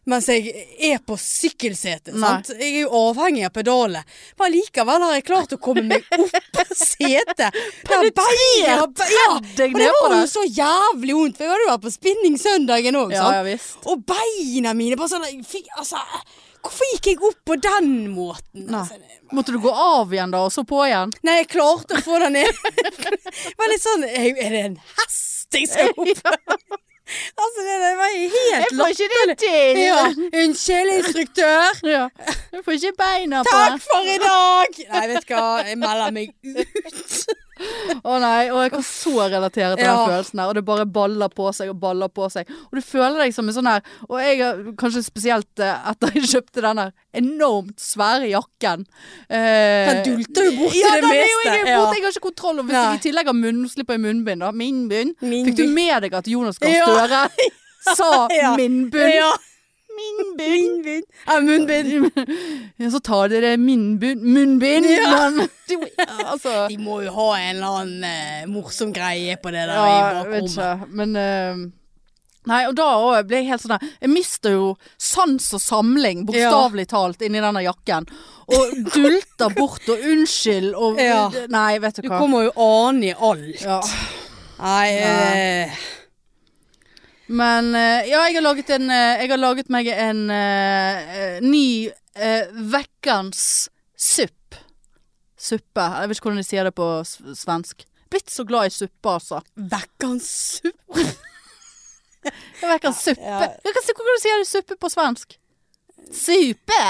mens jeg er på sykkelsetet. Nei. Sant? Jeg er jo avhengig av pedalet. Men likevel har jeg klart å komme meg opp på setet. Penetrert! Ja, deg men det ned på var jo det. så jævlig vondt. For jeg hadde jo vært på spinning søndagen òg. Ja, ja visst. Og beina mine bare sånn jeg fikk- altså, Hvorfor gikk jeg opp på den måten? Nei. Altså, det- Måtte du gå av igjen da, og så på igjen? Nei, jeg klarte å få den ned. Det var litt sånn Er er det en hest jeg skal opp Altså, det, det var helt latt. ikke det til! Ja. Unnskyld, instruktør. Ja. Du får ikke beina på Takk for i dag! Nei, vet du hva, jeg melder meg Eh, ut. Å nei, og jeg kan så relatere til Ja. den følelsen der. Og det bare baller på seg og baller på seg. Og du føler deg som en sånn her Og jeg har kanskje spesielt eh, etter jeg kjøpte den her enormt svære jakken eh, Den dulter jo borti ja, det den er jo- meste, Jeg, er ja. borte, jeg har ikke kontroll. Og hvis Nei. jeg i tillegg har munn, slipper jeg munnbind, da. Min bunn. Min Fikk du bunn. med deg at Jonas Gahr Ja. Støre sa Ja. min bunn? Ja. Min bunn. Munnbind. Ja, munnbind. Ja, så tar dere min bunn, munnbind, men altså De må jo ha en eller annen eh, morsom greie på det der i Ja, jeg vet bakrommet. ikke, men eh, Nei, og da òg ble jeg helt sånn der Jeg mister jo sans og samling, bokstavelig talt, inni denne jakken. Og dulter bort og unnskyld og Ja. Nei, vet du Du hva. kommer jo an i alt. Ja. Nei, eh, Men eh, ja, jeg har laget, en, eh, jeg har laget meg en eh, eh, ny eh, vekkans supp. Suppe. Jeg vet ikke hvordan de sier det på s- svensk. Blitt så glad i suppe, altså. vekkans suppe. Vekkans suppe. ja. Jeg kan si hvordan du sier det suppe på svensk. Supe!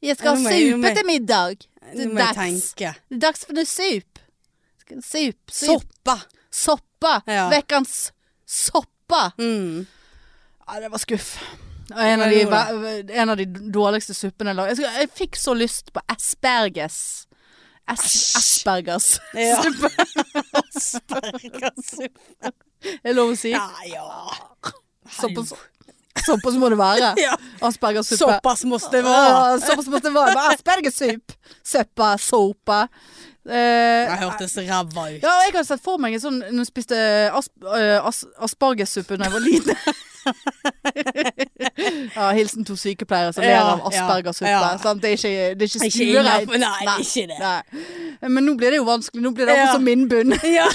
Jeg skal Nå må ha jeg- nå må supe jeg- til middag. Det Nå er må jeg dags. tenke. Det er dags for noe sup. Skal- Sup. sup. Soppa. Soppa. Ja. Vekkans soppa. Mm. Ja, det var skuff. Det var En Ja, av, det de, gjorde ver- en av de dårligste suppene jeg lagde. Jeg, skulle- jeg fikk så lyst på asperges. As Æsj. aspergers. Ja. Suppe. Aspergersuppe. Er det lov å si? Ja, ja. Såpass, såpass må det være. Ja. Aspergersuppe. Såpass måste det vara. Ja, Såpass måste det vara. Bara Aspergersup. Søppa, sopa. Eh, Jeg hørtes ræva ut. ja, og jeg hadde sett for meg en sånn Når jeg spiste asp eh, as aspargessuppe da jeg var liten. ja, hilsen to sykepleiere som ler Ja, av aspergersuppe. ja, ja. sant? Det er ikke, det er ikke Ikke stuereint. innenfor- nei, ikke det. nei. Men nå blir det jo vanskelig. Nå blir det Ja. akkurat som min bunn. Ja.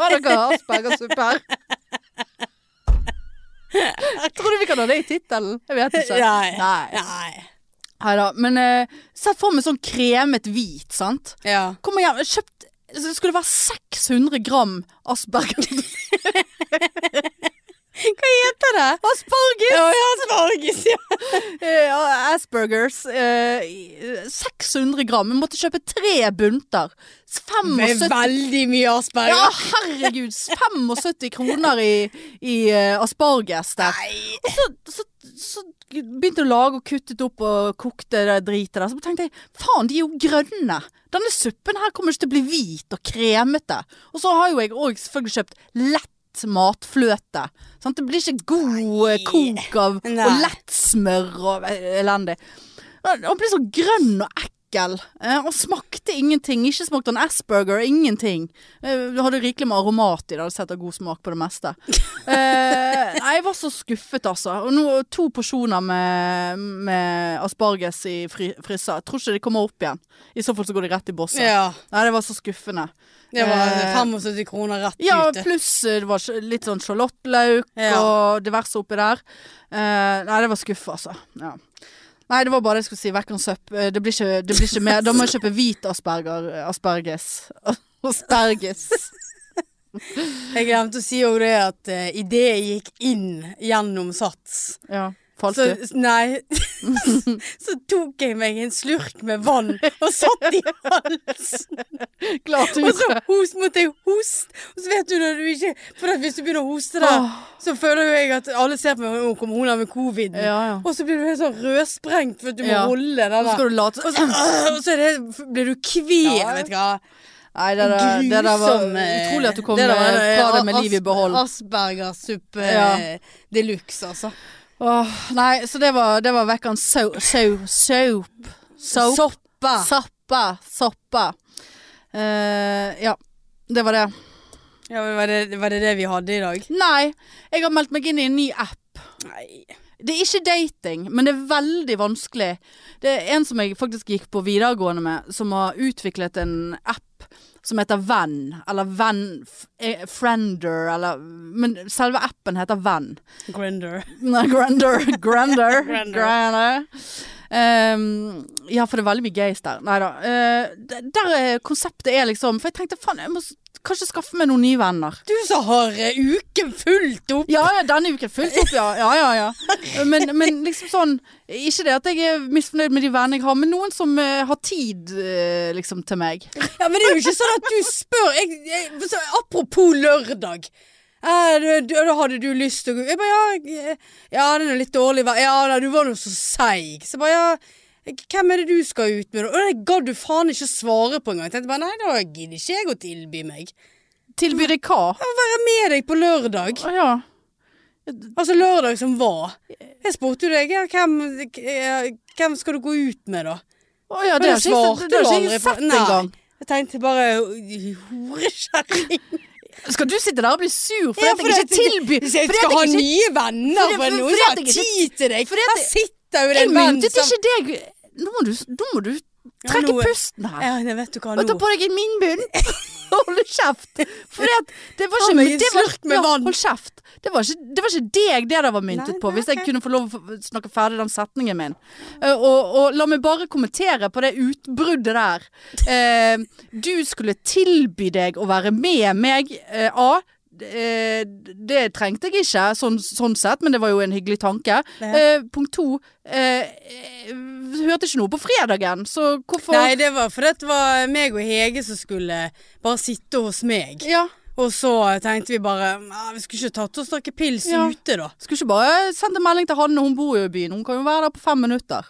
Har dere aspergersuppe her? Tror du vi kan ha det i tittelen? Jeg vet ikke. Nei. Nei. Nei. Neida, men eh, sett for meg sånn kremet hvit, sant? Ja. Kom igjen, jeg kjøpt så det skulle være 600 gram asperger. Hva heter det? Asperger! Ja, ja, asparges, ja. Eh, ja, aspergers. eh, i- 600 gram. Jeg måtte kjøpe tre bunter. Med 75 veldig mye Ja, asperger. herregud! 75 kroner i, i eh, asparges der. Nei. Og så, så, så begynte jeg å lage og kuttet opp og kokte det dritet der. Så tenkte jeg faen, de er jo grønne. Denne suppen her kommer ikke til å bli hvit og kremete. Og så har jo jeg òg selvfølgelig kjøpt lett matfløte. Sant? Det blir ikke god eh, kok av Nei. og lett smør og eh, elendig. Og Den blir så grønn og ekkel. enkel. eh, Og smakte ingenting. Ikke smakte han Asperger, ingenting. Eh, Du hadde rikelig med aromat i det, hadde setter god smak på det meste. Eh, Nei, jeg var så skuffet, altså. Og nå to porsjoner med, med asparges i fri, fryser. Jeg tror ikke de kommer opp igjen. I så fall så går de rett i bosset. Ja. Nei, det var så skuffende. Det var Eh, 75 kroner rett Ja, ute. pluss eh, det var sj- litt sånn sjalottløk Ja. og diverse oppi der. Eh, nei, det var skuff, altså. Ja. Nei, det var bare det jeg skulle si. Vekkens søpp. Eh, Det blir ikke, det blir ikke mer. Da må jeg kjøpe hvit asperger. eh, Asperges. Asperges. Jeg glemte å si òg det at uh, idet jeg gikk inn gjennom Sats Ja. Falt så, du? nei, så tok jeg meg en slurk med vann og satt i halsen. Klart du Og så gjorde. host, måtte jeg hoste. Og så vet du når du ikke For at hvis du begynner å hoste der, Åh. så føler jo jeg at alle ser på meg og kommer hun der med covid. Ja, ja. Og så blir du helt sånn rødsprengt for at du må Ja. holde den Så der. skal du late Og så, og så er det, blir du kvevet. Ja. vet du hva. Nei, det der, det der var Grusom, eh, utrolig at du kom det der var, eh, eh, fra det med as- liv i behold. Aspergersuppe Ja. eh, de luxe, altså. Åh, nei, så det var, det var vekkens sau- sau- Saup. Saup. Soppa. Sappa. Sappa. Eh, ja, det var det. Ja, men var, det, var det det vi hadde i dag? Nei, jeg har meldt meg inn i en ny app. Nei. Det er ikke dating, men det er veldig vanskelig. Det er en som jeg faktisk gikk på videregående med, som har utviklet en app som heter Venn, eller Venn f- eh, Friender, eller Men selve appen heter Venn. Grinder. Nei, Grander. Grander. Grander. Grander. Ehm, ja, for det er veldig mye gays der. Nei da. Eh, d- der er konseptet er liksom For jeg tenkte faen, jeg må s- kanskje skaffe meg noen nye venner. Du som har eh, uken fullt opp. Ja ja, denne uken fullt opp, ja. ja, ja, ja. Men, men liksom sånn Ikke det at jeg er misfornøyd med de vennene jeg har, men noen som eh, har tid eh, liksom til meg. Ja, men det er jo ikke sånn at du spør jeg, jeg, så, Apropos lørdag. Eh, du, du, da hadde du lyst til å gå Jeg bare ja, jeg- ja, det er nå litt dårlig vær. Ja, nei, du var nå så seig. Så jeg bare ja, hvem er det du skal ut med, da? Og det gadd du faen ikke å svare på engang. Jeg tenkte bare nei, da gidder ikke jeg å tilby meg. Tilbyr deg hva? Jeg vil være med deg på lørdag. Å ja. Altså lørdag som var. Jeg spurte jo deg ja, hvem, eh, hvem skal du gå ut med, da? Å ja, Men det det har ikke jeg- svarte det du har ikke aldri jeg på. sett Nei. engang. Jeg tenkte bare horekjerring. Skal du sitte der og bli sur fordi Ja, at jeg fordi ikke at- tilbyr Hvis jeg fordi skal at ha ikke- nye venner fordi- på fordi- noen fordi som har at jeg ikke- tid til deg fordi at Her jeg- sitter jo Jeg en venn myntet ikke deg Nå må du, nå må du trekke nå er- pusten her. Ja, nei, vet du hva Og ta nå? på deg en munnbind. Hold kjeft. For det var Ta ikke meg en det var, slurk med vann. Hold kjeft. Det var ikke, det var ikke deg det der var myntet Nei, på, nei, hvis jeg ok. kunne få lov å få snakke ferdig den setningen min. Eh, og, og la meg bare kommentere på det utbruddet der. Eh, du skulle tilby deg å være med meg. Eh, A. Eh, det trengte jeg ikke, sånn, sånn sett, men det var jo en hyggelig tanke. Ja. Eh, punkt to. Eh, eh, hørte ikke noe på fredagen, så hvorfor Nei, det var fordi det var meg og Hege som skulle bare sitte hos meg. Ja. Og så tenkte vi bare "Ah, Vi skulle ikke tatt oss noe pils Ja. ute, da. Skulle ikke bare sendt en melding til Hanne, hun bor jo i byen. Hun kan jo være der på fem minutter.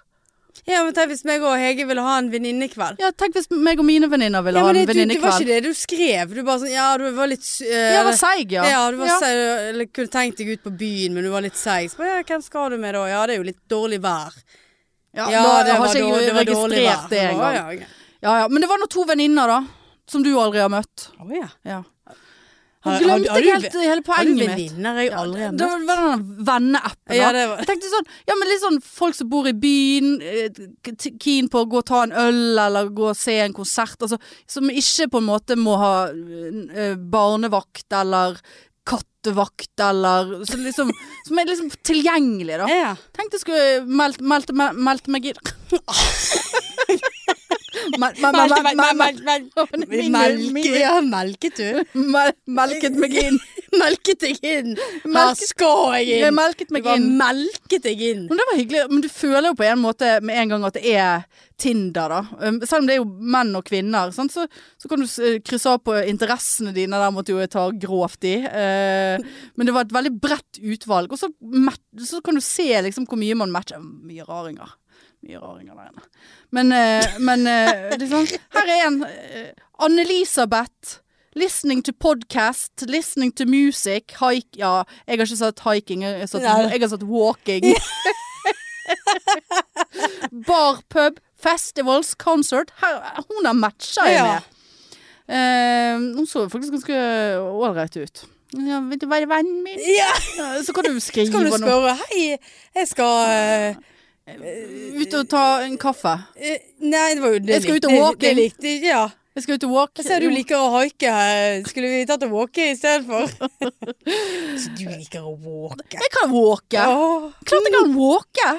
Ja, men tenk hvis meg og Hege ville ha en venninnekveld. Ja, Tenk hvis meg og mine venninner ville Ja, ha men det, en du, det var ikke venninnekveld. det du skrev. Du bare sånn Ja, du var litt uh, Jeg var seig, ja. Ja, du var seig, eller kunne tenkt deg ut på byen, men du var litt seig. Så bare, ja, hvem skal du med da? Ja, det er jo litt dårlig vær. Ja, Ja, da det har var, ikke jeg dårlig, det var dårlig vær. registrert det Å, engang. ja, ok. Ja, ja. Men det var nå to venninner, da. Som du aldri har møtt. Å, ja. Ja. Har- har Nå du- glemte har jeg du helt, ve- hele Har du poenget mitt. venninner jeg aldri har Det møtt? var det var den venneappen. Ja, da. det var- Jeg tenkte sånn, ja, men litt sånn folk som bor i byen, eh, k- keen på å gå og ta en øl eller gå og se en konsert. Altså, som ikke på en måte må ha eh, barnevakt eller kattevakt eller så liksom, Som er liksom tilgjengelig, da. Ja. Tenkte jeg skulle meldt meld, meld, meld meg inn Mel- mel- mel- mel- mel- mel- Min- Melke, min- ja, melket du? mel- Melket meg inn. Melket jeg inn? Her Melket- skal jeg Jeg inn! melket Du meg bare inn. melket jeg inn. Men det var hyggelig, men du føler jo på en måte med en gang at det er Tinder, da. Um, Selv om det er jo menn og kvinner, sant? Så, så kan du s- eh, krysse av på interessene dine, der måtte jo jeg ta grovt i. Eh, men det var et veldig bredt utvalg, og så, mat- så kan du se liksom hvor mye man matcher. Mye raringer. Mye raringer der inne. Men, eh, men eh, liksom, her er en. eh, Anne-Elisabeth. Listening to podcast, listening to music, hike Ja, jeg har ikke sagt hiking, jeg har sagt, Nei. jeg har sagt walking. Bar, pub, Festivals Concert. Her, hun har matcha jeg Ja. med. Eh, hun så faktisk ganske ålreit ut. Ja, vil du være vennen min? Ja, Ja, Så kan du så skrive kan du noe. spørre Hei, jeg skal eh, Ut og ta en kaffe. eh, Nei, det var jo det Jeg skal likte- ut og walke. Det likte jeg, ja. Jeg skal ut og walk. Jeg ser du liker å haike her. Skulle vi tatt og walke istedenfor? Så du liker å walke. Jeg kan walke. Åh. Klart jeg kan walke.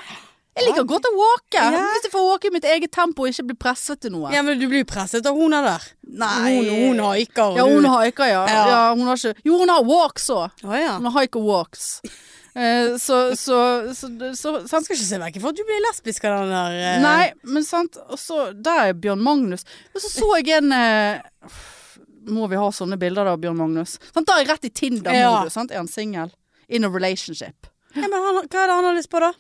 Jeg liker godt å walke. Ja. Hvis jeg får walke i mitt eget tempo og ikke blir presset til noe. Ja, men du blir jo presset av hona der. Nei. Hun, hun haiker. og Ja, du- hun haiker, ja. Ja. ja hun har ikke... Jo, hun har walks òg. Å ja. Hun har hike og walks. Eh, så, så, så, så, sant? Han skal ikke se vekk fra at du blir lesbisk av den der eh, Nei, men sant. Og så Der er Bjørn Magnus. Og så så jeg en eh, Må vi ha sånne bilder av Bjørn Magnus? Sant? Da er jeg rett i Ja. Tinder-modus. sant? Er han singel? In a relationship. Ja, men han, Hva er det han har lyst på, da?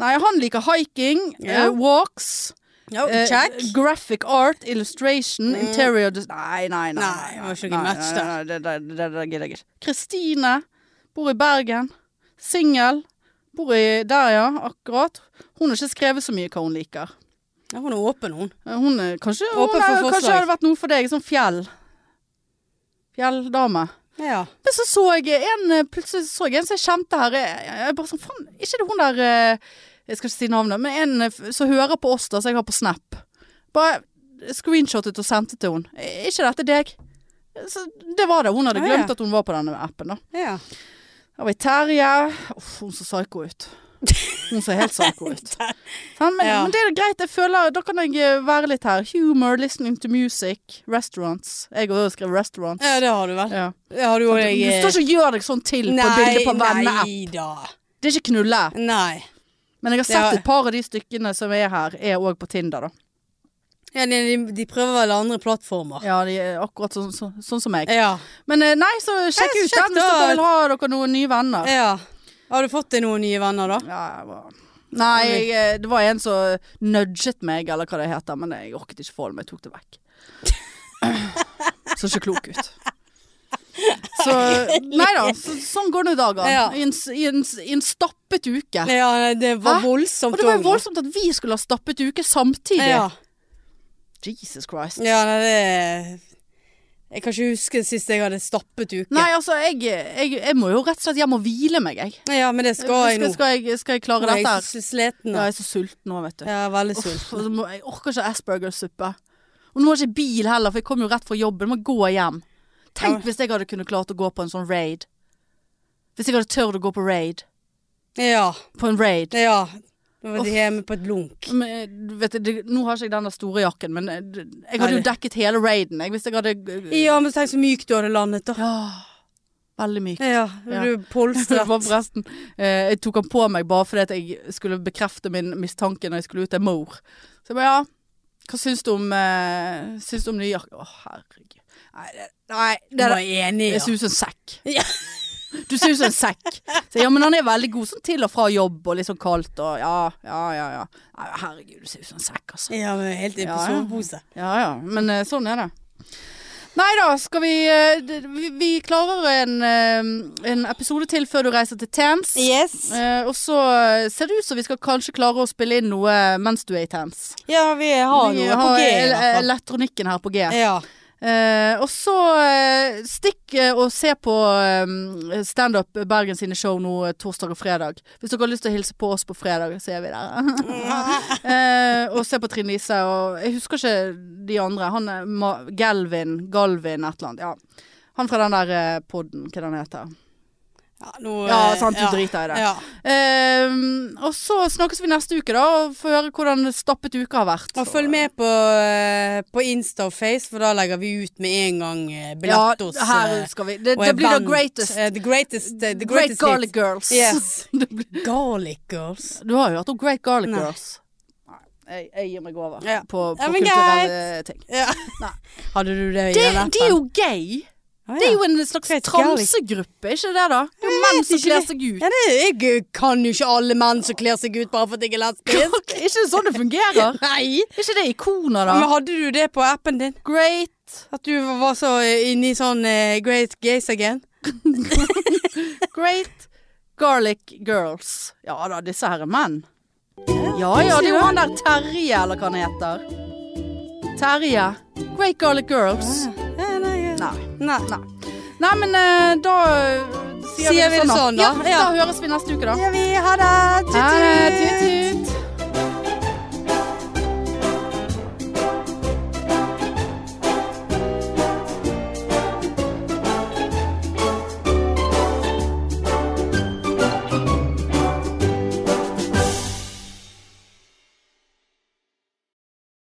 Nei, han liker hiking, Ja. eh, walks, Ja, eh, check. Mm. graphic art, illustration, interior des- Nei, nei, nei. Nei, det var ikke noe match der. nei, det- det- det- det gidder jeg ikke. Kristine bor i Bergen. Singel. Bor i der, ja. Akkurat. Hun har ikke skrevet så mye hva hun liker. Ja, hun er åpen, hun. Eh, Hun er kanskje Åpen hun for er, forslag. Kanskje hadde vært noe for deg. Sånn fjell. Fjelldame. Ja. Men så så jeg en eh, Plutselig så jeg en som jeg kjente her. Jeg, jeg bare sånn, faen, ikke det hun der eh, Jeg skal ikke si navnet, men en eh, f- som hører på oss, da, som jeg har på Snap. Bare screenshotet og sendte til hun. Er ikke dette deg? Så det var det. Hun hadde Å, ja. glemt at hun var på denne appen, da. ja. Her var Terje. Uff, hun så psyko ut. Hun så helt psyko ut. Sant? men, Ja. men det er greit. Jeg føler, Da kan jeg eh, være litt her. Humor, listening to music, restaurants. Jeg har også skrevet restaurants. ja, det har du vel. Ja. Det har du jo Du jeg eh, står ikke og gjør deg sånn til på Nei, bildet på venneapp. Nei da. Det er ikke knulle. Nei. Men jeg har Det har- sett et par av de stykkene som er her, er òg på Tinder, da. Ja, de, de- de prøver vel andre plattformer. Ja, de er akkurat sånn, sånn, sånn som meg. Ja. Men eh, nei, så sjekk Eh, Ja, ut sjekk den hvis da. dere vil ha dere noen nye venner. ja. Har du fått deg noen nye venner, da? Ja, jeg var... Nei, jeg, eh, det var en som nudget meg, eller hva det heter, men jeg orket ikke få det, men jeg tok det vekk. Så ikke klok ut. Så Nei da, så, sånn går nå dagene. Ja. I, en, s- i, en, s- I en stappet uke. Ja, nei, det var Hæ? voldsomt. Og det var jo over. voldsomt at vi skulle ha stappet uke samtidig. Ja. Jesus Christ. ja, nei, det Jeg kan ikke huske sist jeg hadde stappet uke. Nei, altså, jeg, jeg, jeg må jo rett og slett hjem og hvile meg, jeg. Ja, men det skal jeg Skal, nå. skal, jeg, skal jeg klare Nå er dette? jeg her? s- sliten. Ja, da. jeg er så sulten nå, vet du. Jeg er veldig Uff, sulten. og så må, jeg orker ikke Asperger-suppe. Og nå har jeg ikke bil heller, for jeg kom jo rett fra jobben. Jeg må gå hjem. Tenk Ja. hvis jeg hadde kunnet klart å gå på en sånn raid. Hvis jeg hadde tørt å gå på raid. Ja. På en raid. ja. Nå var de hjemme på et lunk. Men, eh, vet du, det, nå har ikke jeg den der store jakken, men eh, det- jeg hadde Nei, jo det- dekket hele raiden jeg, hvis jeg hadde eh, Ja, men tenk så mykt du hadde landet, da. Ja. Veldig myk. Ja, Ja. du polstret. Det var forresten eh, Jeg tok han på meg bare fordi at jeg skulle bekrefte min mistanke når jeg skulle ut til mor. Så jeg bare ja, hva syns du om eh, Syns du om nye jakker? Å, herregud. Nei, det, nei Du det, var enig, jeg ja. ser ut som en sekk. Ja. Du ser ut som en sekk. Så, jeg, ja, men han er veldig god sånn til og fra jobb og litt sånn kaldt og ja, ja, ja. ja. Nei, herregud, du ser ut som en sekk, altså. Ja, men helt inn på Ja, ja. sovepose. Ja ja, men eh, sånn er det. Nei da, skal vi eh, d- Vi, vi klarer en, eh, en episode til før du reiser til Tans. Yes. Eh, og så eh, ser det ut som vi skal kanskje klare å spille inn noe mens du er i TANS. Ja, vi har Vi noe på G, i el- hvert fall. elektronikken her på G. Ja. Eh, og så eh, stikk eh, og se på eh, Standup Bergen sine show nå eh, torsdag og fredag. Hvis dere har lyst til å hilse på oss på fredag, så er vi der. Eh, og se på Trine Lise og Jeg husker ikke de andre. Han er Ma Galvin, Galvin et eller annet. Ja. Han fra den der eh, podden, hva den heter. Ja, nå, Ja, eh, sant, du driter i det. Ja. Ehm, og så snakkes vi neste uke, da, og får høre hvordan stappet uka har vært. Og følg med på, eh, på Insta og Face, for da legger vi ut med en gang eh, Ja, billett hos her eh, skal vi. Det, og det en blir The band. Greatest. Eh, the greatest, eh, the Great greatest Garlic hits. Girls. Yes. Det blir- Garlic Girls. du har jo hørt om Great Garlic Nei. Girls. Nei, jeg, jeg gir meg over Ja. på, på Ja, men kulturelle ting. Ja. Nei. Hadde du det i Det, den appen? de er jo gay! Ah, ja. Det er jo en slags Great Garlic. transegruppe, ikke det da? Det er jo menn som ikke kler det. seg ut. Ah, Ja, det, jeg eh, kan jo ikke alle menn som kler seg ut bare for at jeg er lesbisk. Er ikke det sånn det fungerer? Nei. Er ikke det ikoner, Men da? hadde du det på appen din? Great, At du var så inne i sånn eh, Great Gays Again? great Garlic Girls. Ja da, disse her er menn. Ja ja, det er jo han der Terje, eller hva han heter. Terje. Great Garlic Girls. Nei, Ah. nei, ja. Nei. Nei. Nei, men eh, da eh, Sier vi det sånn, da? Ja, Ja. da høres vi neste uke, da. Ja, vi har det. Tut, Ha det. tut. Tut, tut.